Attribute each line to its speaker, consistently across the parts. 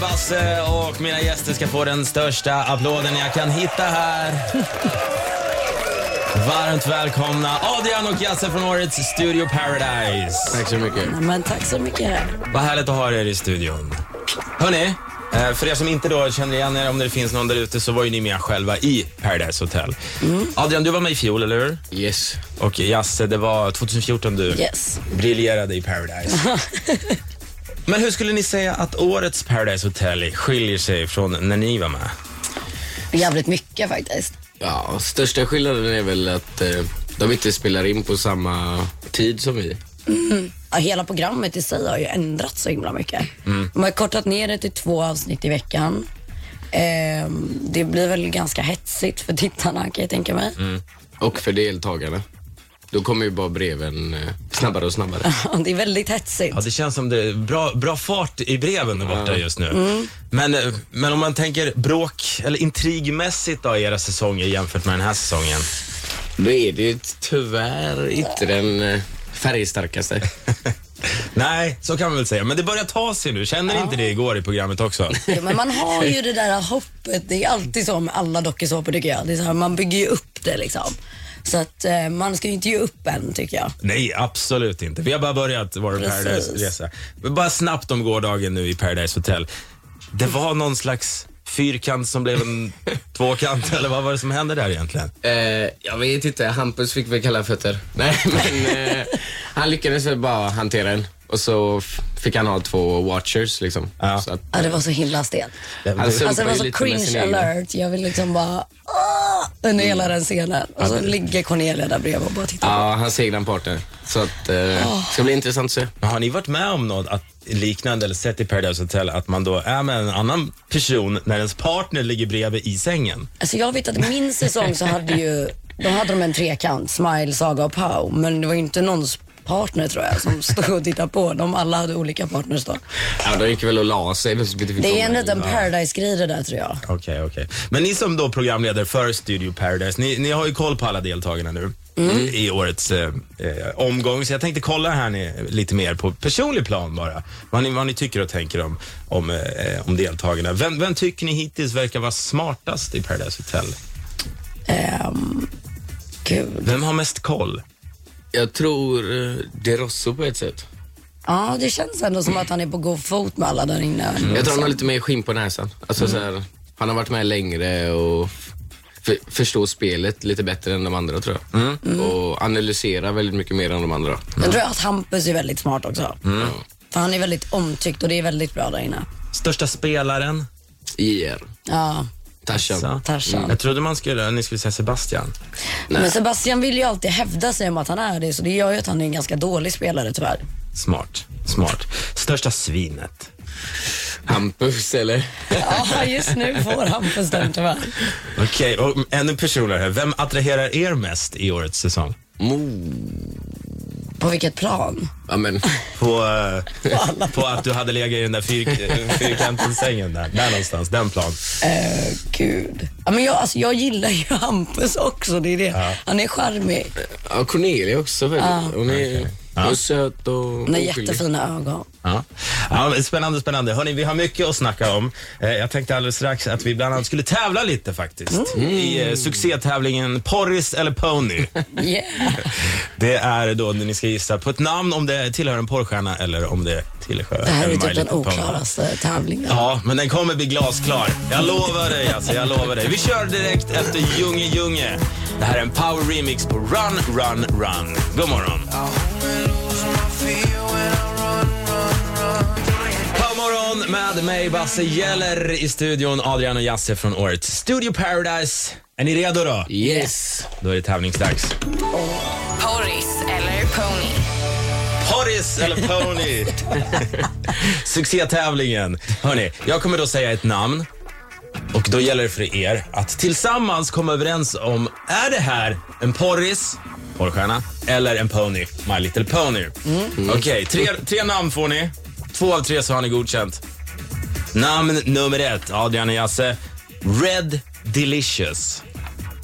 Speaker 1: Lasse och mina gäster ska få den största applåden jag kan hitta här. Varmt välkomna Adrian och Jasse från årets Studio Paradise.
Speaker 2: Tack så mycket.
Speaker 3: Ja, Men tack så mycket.
Speaker 1: Vad härligt att ha er i studion. Hörni, eh, för er som inte då känner igen er, om det finns någon där ute, så var ju ni med själva i Paradise Hotel. Adrian, du var med i fjol, eller hur?
Speaker 2: Yes.
Speaker 1: Och Jasse, det var 2014 du
Speaker 3: Yes.
Speaker 1: briljerade i Paradise. Men hur skulle ni säga att årets Paradise Hotel skiljer sig från när ni var med?
Speaker 3: Jävligt mycket faktiskt.
Speaker 2: Ja, största skillnaden är väl att eh, de inte spelar in på samma tid som vi.
Speaker 3: Ja, hela programmet i sig har ju ändrats så himla mycket. De har kortat ner det till två avsnitt i veckan. Ehm, det blir väl ganska hetsigt för tittarna kan jag tänka mig.
Speaker 2: Och för deltagarna. Då kommer ju bara breven eh, snabbare och snabbare.
Speaker 3: Ja, det är väldigt hetsigt.
Speaker 1: Ja, det känns som det är bra, bra fart i breven där borta just nu. Men, eh, men om man tänker bråk eller intrigmässigt då i era säsonger jämfört med den här säsongen.
Speaker 2: Då är det ju tyvärr inte den eh, färgstarkaste.
Speaker 1: Nej, så kan man väl säga. Men det börjar ta sig nu. Känner ni inte det igår i programmet också?
Speaker 3: Ja, men man har ju det där hoppet. Det är alltid så med alla dokusåpor tycker jag. Det är så här, man bygger ju upp det liksom. Så att eh, man ska ju inte ge upp än tycker jag.
Speaker 1: Nej, absolut inte. Vi har bara börjat vår
Speaker 3: Precis.
Speaker 1: Paradise-resa. Men Bara snabbt om gårdagen nu i Paradise Hotel. Det var någon slags fyrkant som blev en tvåkant, eller vad var det som hände där egentligen?
Speaker 2: Eh, jag vet inte, Hampus fick väl kalla fötter. Nej, men eh, han lyckades väl bara hantera den. Och så f- fick han ha två watchers liksom.
Speaker 1: Ja.
Speaker 2: Så att,
Speaker 3: Ja, det var så himla stelt.
Speaker 2: han sumpar
Speaker 3: Alltså det var
Speaker 2: ju
Speaker 3: så
Speaker 2: lite med sin
Speaker 3: cringe
Speaker 2: egen.
Speaker 3: alert. Jag vill liksom bara "Åh!" under hela den scenen. Och så ligger Cornelia där bredvid och bara tittar.
Speaker 2: Ja, han seglar en partner. Så att, eh, ska bli intressant att se.
Speaker 1: Men har ni varit med om något att, liknande eller sett i Paradise Hotel att man då är med en annan person när ens partner ligger bredvid i sängen?
Speaker 3: Alltså jag vet att i min säsong så hade ju, då hade de en trekant, Smile, Saga och Pau. Men det var ju inte någons partner tror jag som stod och tittade på. De alla hade olika partners då.
Speaker 2: Ja, de gick väl och la sig. men så bytte vi
Speaker 3: Det är en
Speaker 2: ton.
Speaker 3: liten paradise-grej det där tror jag.
Speaker 1: Okej, okej. Men ni som då programledare för Studio Paradise, ni, ni har ju koll på alla deltagarna nu i årets eh, eh, omgång. Så jag tänkte kolla här ni, lite mer på personlig plan bara. Vad ni, vad ni tycker och tänker om, om, eh, om deltagarna. Vem, vem tycker ni hittills verkar vara smartast i Paradise Hotel?
Speaker 3: Ehm, gud.
Speaker 1: Vem har mest koll?
Speaker 2: Jag tror eh, det är Rosso på ett sätt.
Speaker 3: Ja, det känns ändå som att han är på god fot med alla där inne.
Speaker 2: Mm. Jag tror han har lite mer skinn på näsan. Alltså, så här, han har varit med längre och f- för- förstår spelet lite bättre än de andra tror jag.
Speaker 3: Mm.
Speaker 2: Och analyserar väldigt mycket mer än de andra.
Speaker 3: Jag tror att Hampus är väldigt smart också.
Speaker 2: Mm.
Speaker 3: För han är väldigt omtyckt och det är väldigt bra där inne.
Speaker 1: Största spelaren?
Speaker 2: IR.
Speaker 3: Ja,
Speaker 2: Tarzan.
Speaker 1: Så.
Speaker 3: Tarzan.
Speaker 1: Jag trodde man skulle, ni skulle säga Sebastian.
Speaker 3: Men Sebastian vill ju alltid hävda sig om att han är det, så det gör ju att han är en ganska dålig spelare tyvärr.
Speaker 1: Smart, smart. Största svinet?
Speaker 2: Hampus eller?
Speaker 3: Ja, just nu får Hampus den tyvärr.
Speaker 1: Okej, och ännu personligare. Vem attraherar er mest i årets säsong?
Speaker 2: Mo.
Speaker 3: På vilket plan?
Speaker 2: Ja, men,
Speaker 1: På, eh, på att du hade legat i den där fyrk- fyrkanten-sängen där. Där någonstans, den plan.
Speaker 3: Eh, gud. Ja, men jag, alltså, jag gillar ju Hampus också, det är det. Han är charmig.
Speaker 2: ja, Cornelia också. Väldigt. Hon är, hon är söt och
Speaker 3: Han har
Speaker 2: oskyldig.
Speaker 3: jättefina ögon.
Speaker 1: Ja. Ja, men spännande, spännande. Hörni, vi har mycket att snacka om. Eh, jag tänkte alldeles strax att vi bland annat skulle tävla lite faktiskt. I eh, succétävlingen Porris eller Pony.
Speaker 3: Yeah.
Speaker 1: Det är då när ni ska gissa på ett namn om det tillhör en porrstjärna eller om det tillhör
Speaker 3: Det här är
Speaker 1: en
Speaker 3: ju
Speaker 1: My
Speaker 3: typ den
Speaker 1: Little Pony.
Speaker 3: oklaraste tävlingen.
Speaker 1: Ja, men den kommer bli glasklar. Jag lovar dig alltså, jag lovar dig. Vi kör direkt efter Junge Junge. Det här är en power remix på Run, Run, Run. God morgon. God morgon med mig, Basse Geller i studion. Adrian och Jasse från årets Studio Paradise. Är ni redo då?
Speaker 2: Yes.
Speaker 1: Då är det tävlingsdags.
Speaker 4: Porris eller pony?
Speaker 1: Porris eller Pony. Succétävlingen. Hörni, jag kommer då säga ett namn. Och då gäller det för er att tillsammans komma överens om, är det här en porris, porrstjärna, eller en pony, My Little Pony? Okej, tre, tre namn får ni. Två av tre så har ni godkänt. Namn nummer ett, Adrian och Jasse. Red Delicious.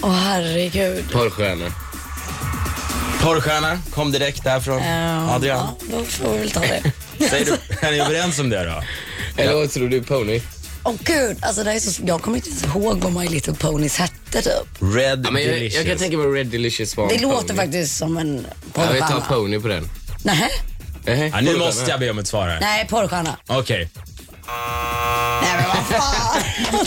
Speaker 3: Åh herregud.
Speaker 2: Porrstjärna.
Speaker 1: Porrstjärna, kom direkt därifrån.
Speaker 2: Ehm,
Speaker 3: Eh,
Speaker 1: Adrian,
Speaker 3: Ja, då får vi väl ta det.
Speaker 1: säger du, är ni överens om det då?
Speaker 2: Eller vad tror du? Pony?
Speaker 3: Åh gud, alltså det här är så, jag kommer inte ens ihåg vad My Little Ponies hette typ.
Speaker 1: Red
Speaker 2: Ja, men jag,
Speaker 1: Delicious.
Speaker 2: jag kan tänka mig Red Delicious var
Speaker 3: Det
Speaker 2: en
Speaker 3: låter
Speaker 2: pony.
Speaker 3: faktiskt som en
Speaker 2: Jag vill
Speaker 3: porrstjärna.
Speaker 2: ta Pony på den.
Speaker 3: Nej,
Speaker 2: Eh,
Speaker 1: ja, nu måste jag be om ett svar här.
Speaker 3: nej porrstjärna.
Speaker 1: Okej.
Speaker 3: Nej men vad fan.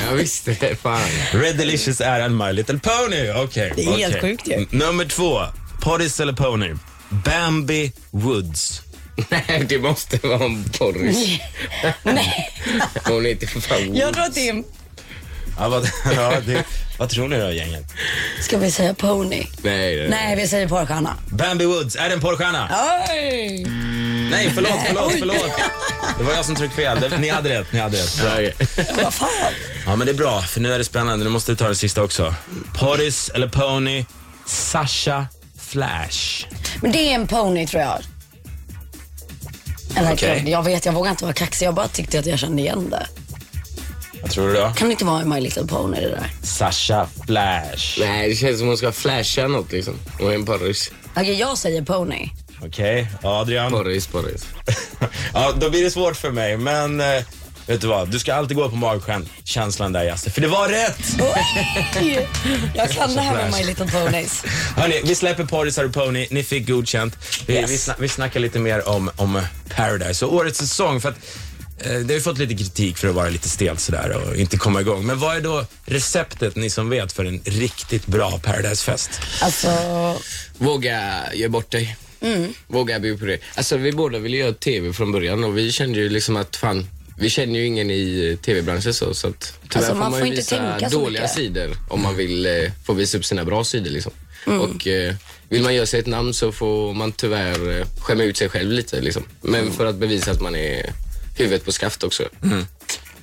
Speaker 2: Jag visste. Fan.
Speaker 1: Red Delicious är en My Little Pony. Okej.
Speaker 3: Det är helt
Speaker 1: okej.
Speaker 3: sjukt ju.
Speaker 1: N- Nummer två. Pottis eller Pony? Bambi Woods.
Speaker 2: Nej, det måste vara en Boris.
Speaker 3: nej,
Speaker 2: Hon är inte för fan...
Speaker 3: jag tror att det är en...
Speaker 1: Ja, vad, ja, det, vad tror ni då gänget?
Speaker 3: Ska vi säga pony?
Speaker 2: Nej, nej.
Speaker 3: Nej, vi säger porrstjärna.
Speaker 1: Bambi Woods, är det en porrstjärna?
Speaker 3: Oj!
Speaker 1: Nej, förlåt, förlåt, förlåt. Det var jag som tryckte fel. Det- Ni hade rätt, ni hade rätt. Bra.
Speaker 2: nej.
Speaker 3: Vad fan.
Speaker 1: Ja, men det är bra, för nu är det spännande. Nu måste du ta den sista också. Pottis eller Pony? Sasha Flash.
Speaker 3: Men det är en pony tror jag. Eller
Speaker 1: Okej.
Speaker 3: jag vet, jag vågar inte vara kaxig. Jag bara tyckte att jag kände igen det.
Speaker 1: Vad tror du då?
Speaker 3: Kan det inte vara My Little Pony det där?
Speaker 1: Sasha Flash.
Speaker 2: nej, det känns som hon ska flasha något liksom. Hon är en Boris.
Speaker 3: Okej, jag säger pony.
Speaker 1: Okej, Adrian.
Speaker 2: Boris, Boris.
Speaker 1: Ja, då blir det svårt för mig, men eh, vet du vad? Du ska alltid gå på magkänslan där Jasse, för det var rätt!
Speaker 3: Oj! Jag kan det här med My Little Ponies.
Speaker 1: Hörni, vi släpper Paris och Pony, ni fick godkänt. Vi,
Speaker 3: Yes.
Speaker 1: vi, sna- vi snackar lite mer om, om eh, Paradise och årets säsong. För att, eh, det har ju fått lite kritik för att vara lite stelt sådär och inte komma igång. Men vad är då receptet, ni som vet, för en riktigt bra Paradise-fest?
Speaker 3: Alltså,
Speaker 2: Våga göra bort dig.
Speaker 3: Mm.
Speaker 2: Våga bjuda på det. Alltså vi båda ville göra TV från början och vi kände ju liksom att fan, vi känner ju ingen i eh, TV-branschen så, så att tyvärr
Speaker 3: Alltså, man
Speaker 2: får man
Speaker 3: får
Speaker 2: ju
Speaker 3: inte
Speaker 2: visa
Speaker 3: tänka så
Speaker 2: dåliga
Speaker 3: mycket.
Speaker 2: sidor om man vill eh, få visa upp sina bra sidor liksom.
Speaker 3: Mm.
Speaker 2: Och eh, vill man göra sig ett namn så får man tyvärr eh, skämma ut sig själv lite liksom. Men
Speaker 3: Mm.
Speaker 2: för att bevisa att man är huvudet på skaft också.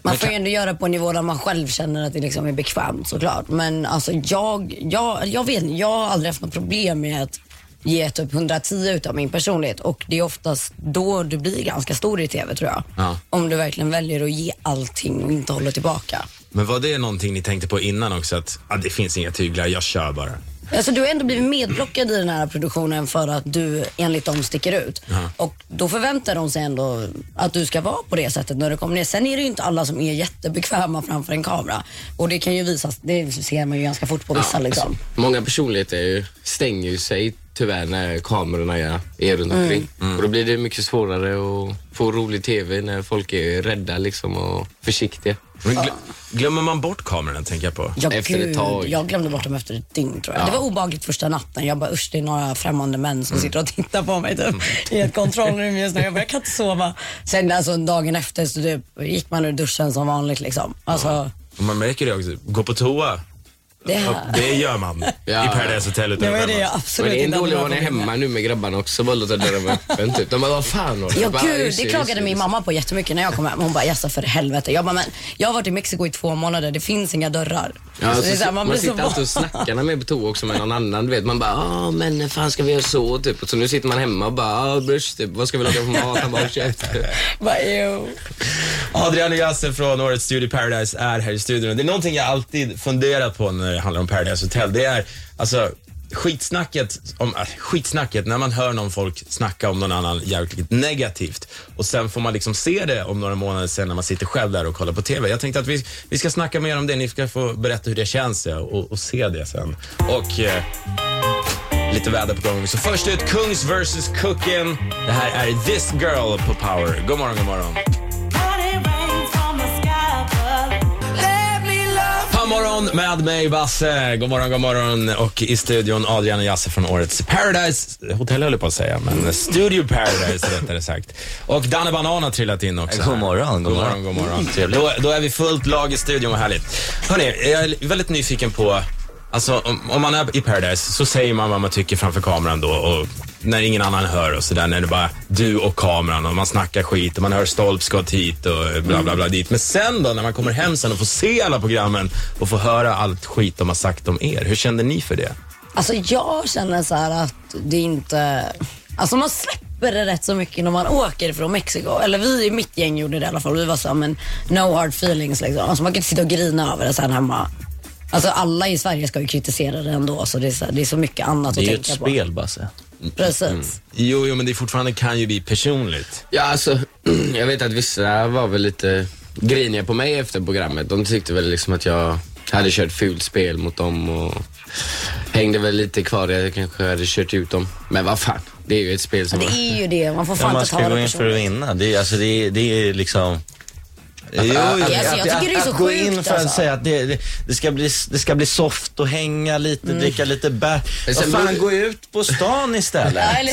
Speaker 3: man får ju ändå göra på en nivå där man själv känner att det liksom är bekvämt såklart. Men alltså jag, jag, jag vet inte, jag har aldrig haft något problem med att ge typ 110 utav min personlighet och det är oftast då du blir ganska stor i TV tror jag.
Speaker 1: Ja.
Speaker 3: Om du verkligen väljer att ge allting och inte hålla tillbaka.
Speaker 1: Men var det någonting ni tänkte på innan också? Att ah, det finns inga tyglar, jag kör bara.
Speaker 3: Alltså, du har ändå blivit medblockad i den här produktionen för att du enligt dem sticker ut. Och då förväntar de sig ändå att du ska vara på det sättet när du kommer ner. Sen är det ju inte alla som är jättebekväma framför en kamera. Och det kan ju visas, det ser man ju ganska fort på vissa liksom.
Speaker 2: Många personligheter är ju, stänger ju sig tyvärr när kamerorna är, är
Speaker 3: Mm.
Speaker 2: runt omkring. Och då blir det mycket svårare att få rolig TV när folk är rädda liksom och försiktiga.
Speaker 1: Men glö- glömmer man bort kamerorna, tänker jag på.
Speaker 3: Jag,
Speaker 2: alltså, Efter ett tag.
Speaker 3: jag glömde bort dem efter ett dygn tror jag. Det var obehagligt första natten. Jag bara usch det är några främmande män som sitter och tittar på mig typ, i ett kontrollrum just nu. Jag bara jag kan inte sova. Sen alltså dagen efter så typ, gick man ur duschen som vanligt liksom. Alltså,
Speaker 1: Och man märker det också, gå på toa.
Speaker 3: det
Speaker 1: Ja,
Speaker 3: här.
Speaker 1: Det gör man
Speaker 2: Ja.
Speaker 1: i Paradise Hotel utan
Speaker 3: Det var
Speaker 1: att
Speaker 3: ju det jag
Speaker 1: skämmas.
Speaker 3: absolut
Speaker 2: Men det är
Speaker 3: inte
Speaker 2: en
Speaker 3: hade
Speaker 2: dålig
Speaker 3: några
Speaker 2: ordning
Speaker 3: problem med.
Speaker 2: hemma nu med grabbarna också. Bara låta dörren vara öppen typ. De bara, vad fan har du?"
Speaker 3: Ja
Speaker 2: Jag bara,
Speaker 3: gud,
Speaker 2: "Just
Speaker 3: det
Speaker 2: just
Speaker 3: klagade min
Speaker 2: just
Speaker 3: mamma på jättemycket när jag kom hem. Hon bara, jaså för helvete. Jag bara, men jag har varit i Mexiko i två månader, det finns inga dörrar.
Speaker 2: Ja,
Speaker 3: Så
Speaker 2: så
Speaker 3: det är så här, man
Speaker 2: man
Speaker 3: blir så
Speaker 2: sitter alltid och
Speaker 3: van.
Speaker 2: snackar när man är på toa också med någon annan. Du vet. Man bara, ah men fan ska vi göra så? Typ. Och så nu sitter man hemma och bara, ah bröst, typ. vad ska vi laga för mat? Han bara, "Håll käften."
Speaker 3: Bara, "Ew."
Speaker 1: Adrian och Jasse från årets Studio Paradise är här i studion. Det är någonting jag alltid funderat på när det handlar om Paradise Hotel. Det är alltså skitsnacket, om, äh, skitsnacket när man hör någon folk snacka om någon annan jävligt negativt och sen får man liksom se det om några månader sen när man sitter själv där och kollar på TV. Jag tänkte att vi, vi ska snacka mer om det. Ni ska få berätta hur det känns ja, och, och se det sen. Och... Eh, Lite väder på gång. Så först ut, Kungs vs Cookin. Det här är This Girl på Power. God morgon, god morgon. God morgon med mig, Basse. God morgon, god morgon. Och i studion Adrian och Jasse från årets Paradise Hotel, höll jag på att säga, men Studio Paradise rättare sagt. Och Danne Banan har trillat in också.
Speaker 5: God morgon,
Speaker 1: God
Speaker 5: god
Speaker 1: morgon,
Speaker 5: morgon.
Speaker 1: god morgon. Trevligt. Då, då är vi fullt lag i studion, vad härligt. Hörni, jag är väldigt nyfiken på, alltså om, om man är i Paradise så säger man vad man tycker framför kameran då och när ingen annan hör och sådär, när det bara är du och kameran och man snackar skit och man hör stolpskott hit och bla bla bla dit. Men sen då när man kommer hem sen och får se alla programmen och får höra allt skit de har sagt om er, hur kände ni för det?
Speaker 3: Alltså jag känner så här att det inte... Alltså man släpper det rätt så mycket när man åker från Mexiko. Eller vi i mitt gäng gjorde det i alla fall. Vi var så här, men no hard feelings liksom. Alltså man kan inte sitta och grina över det sen hemma. Alltså alla i Sverige ska ju kritisera det ändå så det är så, här, det är så mycket annat
Speaker 5: Det är
Speaker 3: att
Speaker 5: ju ett
Speaker 3: tänka
Speaker 5: spel, Basse. Mm.
Speaker 3: på. Precis.
Speaker 1: Jo, jo, men det fortfarande kan ju bli personligt.
Speaker 2: Ja, alltså, jag vet att vissa var väl lite griniga på mig efter programmet. De tyckte väl liksom att jag hade kört fult spel mot dem och hängde väl lite kvar. Jag kanske hade kört ut dem. Men vad fan, det är ju ett spel som...
Speaker 3: Det är ju det, man får fan
Speaker 5: Ja, man
Speaker 3: inte ta
Speaker 5: ska gå
Speaker 3: det
Speaker 5: in för att
Speaker 3: personligt.
Speaker 5: vinna. Det är, alltså, det är, det är liksom... Jo, jo,
Speaker 3: alltså, jag tycker
Speaker 5: att-
Speaker 3: det är
Speaker 5: att-
Speaker 3: så
Speaker 5: att gå
Speaker 3: sjukt,
Speaker 5: in för att
Speaker 3: alltså.
Speaker 5: säga att det, det, det, ska bli, det ska bli soft och hänga lite, dricka lite bär.
Speaker 2: Men
Speaker 5: Vad
Speaker 2: sen
Speaker 5: fan,
Speaker 2: blir-
Speaker 5: gå ut på stan istället.
Speaker 3: Ja, eller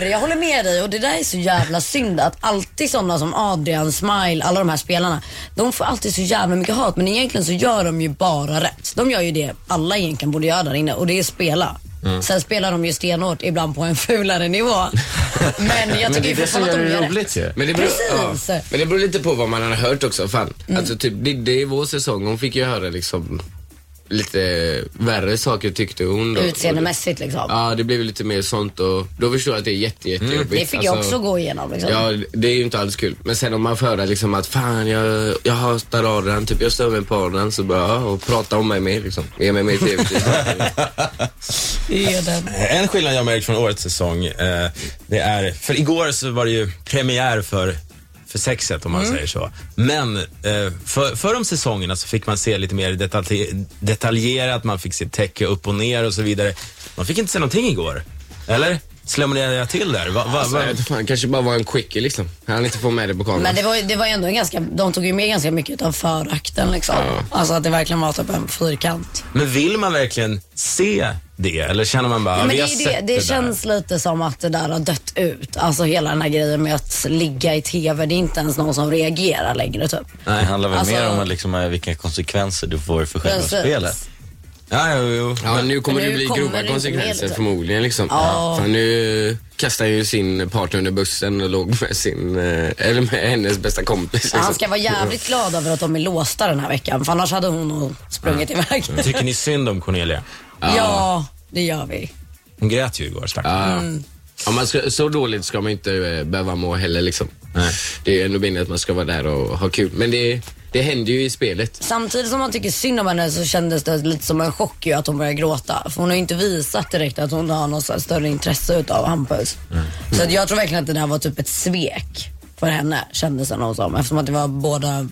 Speaker 3: hur? Jag håller med dig och det där är så jävla synd att alltid sådana som Adrian, Smile, alla de här spelarna, de får alltid så jävla mycket hat men egentligen så gör de ju bara rätt. De gör ju det alla egentligen borde göra där inne och det är spela.
Speaker 5: Mm.
Speaker 3: Sen spelar de ju stenhårt, ibland på en fulare nivå. Men jag
Speaker 5: Men
Speaker 3: tycker
Speaker 5: det
Speaker 3: ju
Speaker 5: är det som
Speaker 3: fortfarande
Speaker 5: gör
Speaker 3: att de
Speaker 5: det
Speaker 3: gör
Speaker 5: roligt
Speaker 3: rätt.
Speaker 5: ju.
Speaker 2: Men det, beror,
Speaker 3: Precis. Mm.
Speaker 2: ja, men det beror lite på vad man har hört också. Fan. Alltså, typ, det, det är vår säsong. Hon fick ju höra liksom lite värre saker tyckte hon. Då.
Speaker 3: Utseendemässigt liksom.
Speaker 2: Ja, det blev ju lite mer sånt och då förstår jag att det är jätte, jättejobbigt.
Speaker 3: Mm.
Speaker 2: Alltså-
Speaker 3: Det fick jag
Speaker 5: alltså,
Speaker 3: också gå igenom liksom.
Speaker 2: Ja, det är ju inte alls kul. Men sen om man får höra liksom att fan jag, jag hatar Adrian, typ jag stör mig på Adrian så bara, ja, och prata om mig mer liksom. Ge mig mer tv-tid.
Speaker 3: Det är den.
Speaker 1: En skillnad jag märkt från årets säsong, eh, det är, för igår så var det ju premiär för, för sexet om man
Speaker 3: Mm.
Speaker 1: säger så. Men eh, för, för de säsongerna så fick man se lite mer detalj, detaljerat, man fick se täcke upp och ner och så vidare. Man fick inte se någonting igår. Eller? Slämrade jag till där? Va, va,
Speaker 2: alltså,
Speaker 1: va?
Speaker 2: jag vet inte fan, kanske bara var en quickie liksom. Han inte få med det på kameran.
Speaker 3: Men det var, ju- det var ju ändå en ganska, de tog ju med ganska mycket av förakten liksom. Alltså att det verkligen var typ en fyrkant.
Speaker 1: Men vill man verkligen se det? Eller känner man bara, "Ah,
Speaker 3: Ja, men
Speaker 1: vi
Speaker 3: det,
Speaker 1: har
Speaker 3: är ju det,
Speaker 1: sett
Speaker 3: det,
Speaker 1: där.
Speaker 3: känns lite som att det där har dött ut. Alltså hela den här grejen med att ligga i TV. Det är inte ens någon som reagerar längre typ.
Speaker 5: Det handlar väl
Speaker 3: Alltså-
Speaker 5: mer om att liksom, eh, vilka konsekvenser du får för själva
Speaker 3: Precis.
Speaker 5: spelet.
Speaker 1: Ja, jo, jo.
Speaker 2: Ja, nu kommer
Speaker 3: Men nu
Speaker 2: det bli
Speaker 3: kommer det
Speaker 2: grova
Speaker 3: inte med,
Speaker 2: konsekvenser
Speaker 3: liksom.
Speaker 2: förmodligen. Liksom.
Speaker 3: Ja.
Speaker 2: För nu kastar han ju sin partner under bussen och låg med, sin, eh, eller med hennes bästa kompis. Liksom.
Speaker 3: Han ska vara jävligt glad över att de är låsta den här veckan. För annars hade hon nog sprungit iväg.
Speaker 1: Tycker ni synd om Cornelia?
Speaker 3: ja, det gör vi.
Speaker 1: Hon grät ju igår stackars.
Speaker 2: Ja. Ja, man ska, så dåligt ska man inte eh, behöva må heller. Liksom. Det är ju ändå meningen att man ska vara där och ha kul. Men det, det händer ju i spelet.
Speaker 3: Samtidigt som man tycker synd om henne så kändes det lite som en chock ju att hon började gråta. För hon har ju inte visat direkt att hon har något så här större intresse utav Hampus.
Speaker 2: Mm.
Speaker 3: Så att jag tror verkligen att det där var typ ett svek för henne kändes det nog som. Eftersom att det var båda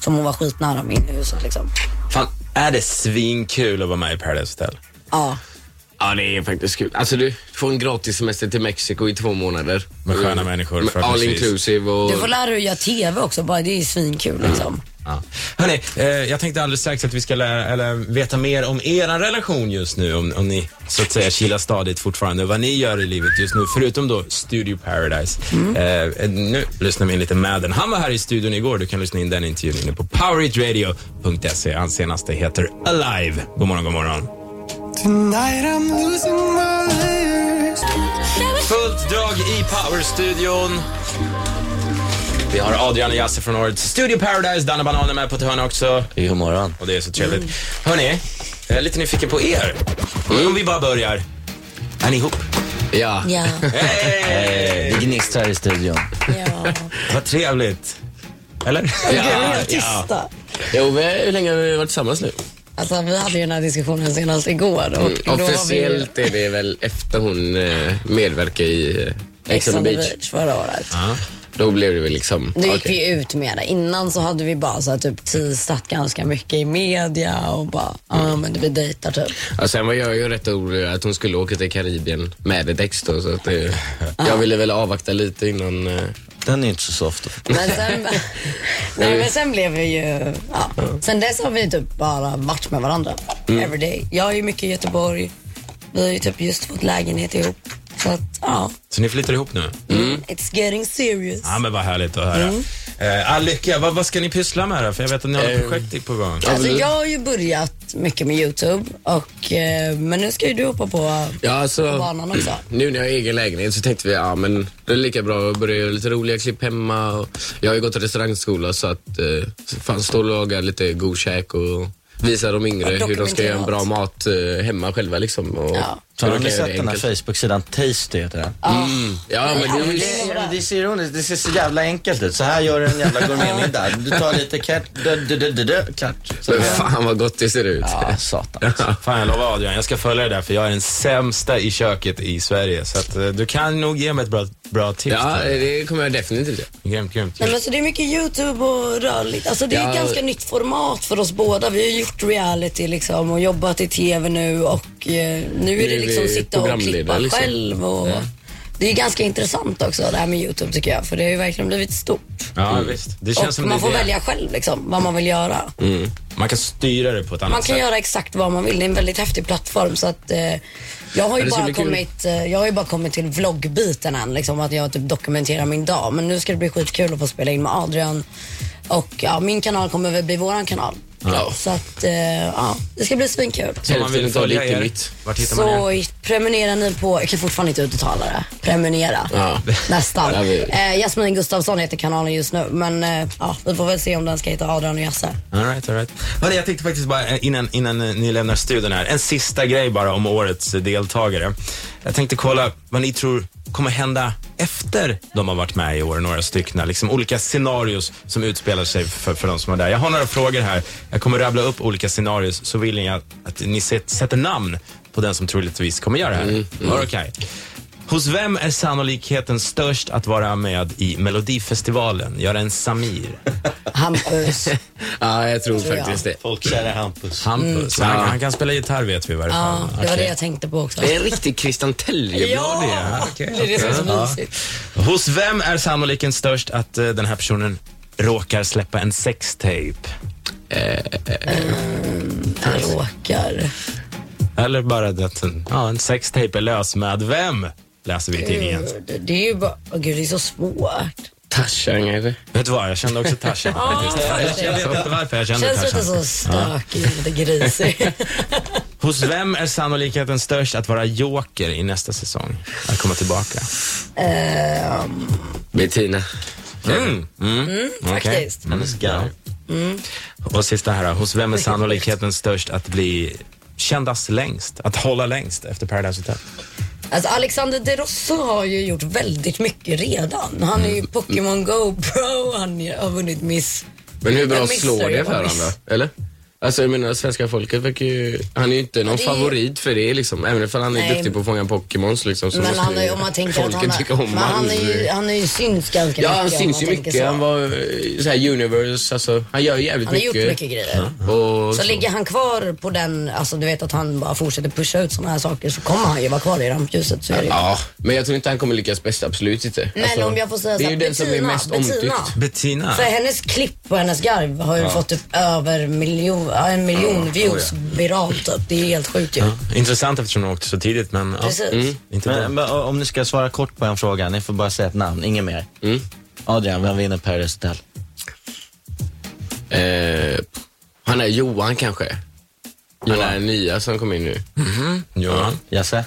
Speaker 3: som hon var skitnära med in i huset liksom.
Speaker 1: Fan, är det svinkul att vara med i Paradise Hotel?
Speaker 3: Ja.
Speaker 2: Ja, det är faktiskt kul. Alltså, du får en gratis semester till Mexiko i två månader.
Speaker 1: Med sköna människor,
Speaker 2: Med All
Speaker 1: förhoppningsvis.
Speaker 2: inclusive och...
Speaker 3: Du får lära dig att göra TV också bara. Det är ju svinkul liksom.
Speaker 1: Ja. Hörni, eh, jag tänkte alldeles strax att vi ska lära, eller, veta mer om er relation just nu, om, om ni så att säga kilar stadigt fortfarande och vad ni gör i livet just nu, förutom då Studio Paradise. Eh, nu lyssnar vi in lite Madden. Han var här i studion igår, du kan lyssna in den intervjun inne på poweritradio.se. E. Hans senaste heter Alive. God morgon, god morgon. Fullt drag i Powerstudion. Vi har Adrian och Jasse från årets Studio Paradise. Danne Banan är med på ett hörn också.
Speaker 5: God morgon.
Speaker 1: Och det är så trevligt. Hörni, jag är lite nyfiken på er. Om vi bara börjar. Är ni ihop?
Speaker 2: Ja.
Speaker 3: Ja.
Speaker 1: Hey!
Speaker 5: Det gnistrar i studion.
Speaker 3: ja.
Speaker 1: Vad trevligt. Eller?
Speaker 3: Helt tysta.
Speaker 2: Jo, vi- hur länge har vi varit tillsammans nu?
Speaker 3: Alltså vi hade ju den här diskussionen senast igår. Och, och då var vi ju
Speaker 2: Mm, Officiellt är det väl efter hon eh, medverkade i eh,
Speaker 3: Ex
Speaker 2: Ex on the beach.
Speaker 3: förra året.
Speaker 2: Då blev det väl liksom...
Speaker 3: Då gick
Speaker 2: okej.
Speaker 3: vi ut med det. Innan så hade vi bara så här, typ teasat ganska mycket i media och bara, ja men vi dejtar typ.
Speaker 2: Ja, sen var jag ju rätt orolig att hon skulle åka till Karibien med ett ex då, så att det, Jag ville väl avvakta lite innan... eh,
Speaker 5: Den är ju inte så soft.
Speaker 3: Men sen, nej, men sen blev vi ju, ja. Sen dess har vi typ bara varit med varandra. Everyday. Jag är ju mycket i Göteborg. Vi har ju typ just fått lägenhet ihop. Så att, ja.
Speaker 1: Så ni flyttar ihop nu?
Speaker 3: It's getting serious.
Speaker 1: Ja, men vad härligt att höra. Eh, all lycka. Vad, vad ska ni pyssla med då? För jag vet att ni har ett projekt på gång.
Speaker 3: Alltså jag har ju börjat mycket med YouTube och, eh, men nu ska ju du hoppa på
Speaker 2: Ja, alltså,
Speaker 3: banan också.
Speaker 2: nu när jag har egen lägenhet så tänkte vi ja men det är lika bra att börja göra lite roliga klipp hemma. Och jag har ju gått restaurangskola så att eh, fan, stå och laga lite god käk och visa de yngre
Speaker 3: Ja,
Speaker 2: hur de ska göra en bra
Speaker 3: dokumenterat.
Speaker 2: mat eh, hemma själva liksom. Och
Speaker 3: Ja.
Speaker 5: Har
Speaker 2: Okej,
Speaker 5: ni
Speaker 2: det
Speaker 5: sett
Speaker 2: är
Speaker 5: den här
Speaker 2: enkelt.
Speaker 5: Facebook-sidan Tasty heter den?
Speaker 2: Mm. Ja, men det är ju
Speaker 5: Det är- Det ser ironiskt, det ser så jävla enkelt ut. Så här gör du en jävla gourmetmiddag. Du tar lite kert, dö, dö, dö, dö, dö, klart. Så-
Speaker 2: Men fan vad gott det ser ut.
Speaker 5: Ja, satan.
Speaker 1: Fan, jag lovar Adrian, jag ska följa det där för jag är den sämsta i köket i Sverige. Så att, eh, du kan nog ge mig ett bra, bra tips.
Speaker 2: Ja,
Speaker 1: till.
Speaker 2: det kommer jag definitivt göra.
Speaker 1: Grymt, grymt.
Speaker 3: Nej, men så det är mycket YouTube och rörligt. Alltså det är ett
Speaker 2: Ja.
Speaker 3: ganska nytt format för oss båda. Vi har gjort reality liksom och jobbat i TV nu och eh, nu är
Speaker 2: är
Speaker 3: det liksom
Speaker 2: vi
Speaker 3: sitta och
Speaker 2: programledare,
Speaker 3: klippa
Speaker 2: liksom.
Speaker 3: själv och det är ganska intressant också det här med YouTube tycker jag för det har ju verkligen blivit stort.
Speaker 1: Ja, visst. Det känns
Speaker 3: Och
Speaker 1: som
Speaker 3: man
Speaker 1: det
Speaker 3: får
Speaker 1: är det.
Speaker 3: välja själv liksom vad man vill göra.
Speaker 1: Man kan styra det på ett annat
Speaker 3: Man kan
Speaker 1: sätt.
Speaker 3: göra exakt vad man vill. Det är en väldigt häftig plattform. Så att, eh, jag,
Speaker 2: Ja,
Speaker 3: har ju
Speaker 2: det ska
Speaker 3: bara
Speaker 2: bli kul.
Speaker 3: kommit, eh, jag har ju bara kommit till vloggbiten än. Liksom, att jag typ dokumenterar min dag. Men nu ska det bli skitkul att få spela in med Adrian. Och ja, min kanal kommer väl bli våran kanal.
Speaker 2: Ja.
Speaker 3: Så att, eh, ja, det ska bli svinkul.
Speaker 1: Så om man vill
Speaker 2: Hälften av
Speaker 1: följa
Speaker 2: lite
Speaker 1: er,
Speaker 2: mitt.
Speaker 1: vart hittar man er?
Speaker 3: Så prenumerera ni på, jag kan fortfarande inte uttala det. Prenumerera.
Speaker 2: Ja.
Speaker 3: Nästan.
Speaker 2: Ja, vi-
Speaker 3: eh, Jasmin Gustafsson heter kanalen just nu. Men eh, ja, vi får väl se om den ska heta Adrian och Jasse.
Speaker 1: All right, all right. Hörde, jag tänkte faktiskt bara eh, innan, innan eh, ni lämnar studion här, en sista grej bara om årets eh, deltagare. Jag tänkte kolla vad ni tror kommer hända efter de har varit med i år, några stycken. Liksom olika scenarios som utspelar sig för, för de som är där. Jag har några frågor här. Jag kommer rabbla upp olika scenarios så vill jag att ni set, sätter namn på den som troligtvis kommer göra det här. Var det okej? Hos vem är sannolikheten störst att vara med i Melodifestivalen? Göra en Samir?
Speaker 3: Hampus.
Speaker 2: Ja, jag tror
Speaker 3: Tror jag.
Speaker 2: faktiskt det.
Speaker 5: Folkkära Hampus.
Speaker 1: Hampus. Han, han kan spela gitarr vet vi i varje fall.
Speaker 3: Mm. Ja, det var det jag tänkte på också.
Speaker 2: Det är en riktig Christian Tell-jubel.
Speaker 1: Ja,
Speaker 3: det
Speaker 1: okej,
Speaker 3: är det som är så mysigt.
Speaker 1: Hos vem är sannolikheten störst att eh, den här personen råkar släppa en sextape?
Speaker 3: Jag råkar.
Speaker 1: Eller bara att en, ja, en sextape är lös med vem? Läser vi i tidningen.
Speaker 3: Gud, Det är ju bara, åh gud det är så svårt.
Speaker 2: Tarzan kanske.
Speaker 1: Vet du vad, jag kände också Tarzan faktiskt.
Speaker 3: faktiskt.
Speaker 1: Jag vet inte varför jag kände
Speaker 3: Känns lite
Speaker 1: Tarzan.
Speaker 3: så stökig, lite grisig.
Speaker 1: Hos vem är sannolikheten störst att vara joker i nästa säsong? Att komma tillbaka?
Speaker 3: Ehm,
Speaker 2: Bettina.
Speaker 1: Mm. Mm. Okej.
Speaker 3: faktiskt.
Speaker 2: Mm.
Speaker 5: Han är så garv.
Speaker 1: Och sista här då. Hos vem är sannolikheten störst att bli kändast längst? Att hålla längst efter Paradise Hotel?
Speaker 3: Alltså Alexander De Rosso har ju gjort väldigt mycket redan. Han är
Speaker 2: Mm.
Speaker 3: ju Pokémon Go Pro, han har vunnit Miss...
Speaker 2: Men hur
Speaker 3: Jag
Speaker 2: bra
Speaker 3: missar
Speaker 2: slår
Speaker 3: ju
Speaker 2: det för
Speaker 3: vad
Speaker 2: honom
Speaker 3: miss.
Speaker 2: då? Eller? Alltså jag menar, svenska folket verkar ju... Han är ju inte någon
Speaker 3: det är-
Speaker 2: favorit för det liksom. Även om han är
Speaker 3: Nej.
Speaker 2: duktig på att fånga Pokémons liksom. Så
Speaker 3: Men
Speaker 2: måste
Speaker 3: han är,
Speaker 2: ju
Speaker 3: om man tänker att
Speaker 2: folket
Speaker 3: han,
Speaker 2: tycka om
Speaker 3: men han, är ju, han är ju syns ganska
Speaker 2: Ja,
Speaker 3: mycket.
Speaker 2: han
Speaker 3: om
Speaker 2: syns
Speaker 3: man
Speaker 2: ju
Speaker 3: tänker
Speaker 2: mycket.
Speaker 3: så.
Speaker 2: Han var eh, så här universe, alltså. Han gör ju jävligt
Speaker 3: Han har gjort
Speaker 2: mycket.
Speaker 3: mycket grejer.
Speaker 2: Och
Speaker 3: Så ligger han kvar på den, alltså du vet att han bara fortsätter pusha ut sådana här saker så kommer han ju vara kvar i rampljuset. Så är det ju.
Speaker 2: Ja, men jag tror inte han kommer lyckas bäst, absolut inte.
Speaker 3: Men
Speaker 2: Alltså,
Speaker 3: om jag får säga
Speaker 2: Det är ju
Speaker 3: såhär,
Speaker 2: den som är
Speaker 3: Bettina,
Speaker 2: mest
Speaker 3: Bettina.
Speaker 2: omtyckt.
Speaker 1: Bettina?
Speaker 3: För hennes klipp och hennes garv har ju fått upp över miljon, ja, en
Speaker 1: Ah,
Speaker 3: miljon
Speaker 1: oh
Speaker 3: views viralt typ. Det är ju helt sjukt ju.
Speaker 1: Intressant eftersom hon åkte så tidigt, men ja, Mm.
Speaker 3: Precis.
Speaker 1: inte bra.
Speaker 5: Men, men o- om ni ska svara kort på en fråga, ni får bara säga ett namn, inget mer.
Speaker 2: Mm.
Speaker 5: Adrian, vem vinner Paradise Hotel?
Speaker 2: Eh, han är Johan kanske? Han är nya som kom in nu.
Speaker 1: Johan?
Speaker 5: Jasse?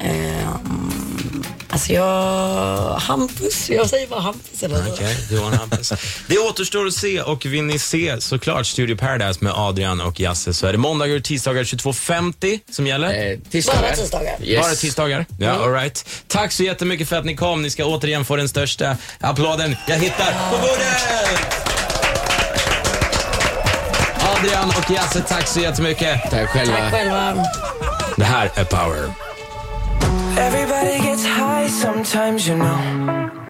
Speaker 3: Ehm, alltså jag, Hampus, jag säger bara Hampus eller så.
Speaker 1: Okej, Johan Hampus. Det återstår att se och vill ni se såklart Studio Paradise med Adrian och Jasse så är det måndagar och tisdagar 22.50 som gäller.
Speaker 2: Eh, tisdagar.
Speaker 3: Bara tisdagar.
Speaker 2: Yes.
Speaker 1: Bara tisdagar? Ja, all right. Tack så jättemycket för att ni kom. Ni ska återigen få den största applåden jag hittar på bordet! Adrian och Jasse, tack så jättemycket.
Speaker 2: Tack själva.
Speaker 3: Tack själva.
Speaker 1: Det här är Power.
Speaker 6: Everybody gets high sometimes, you know.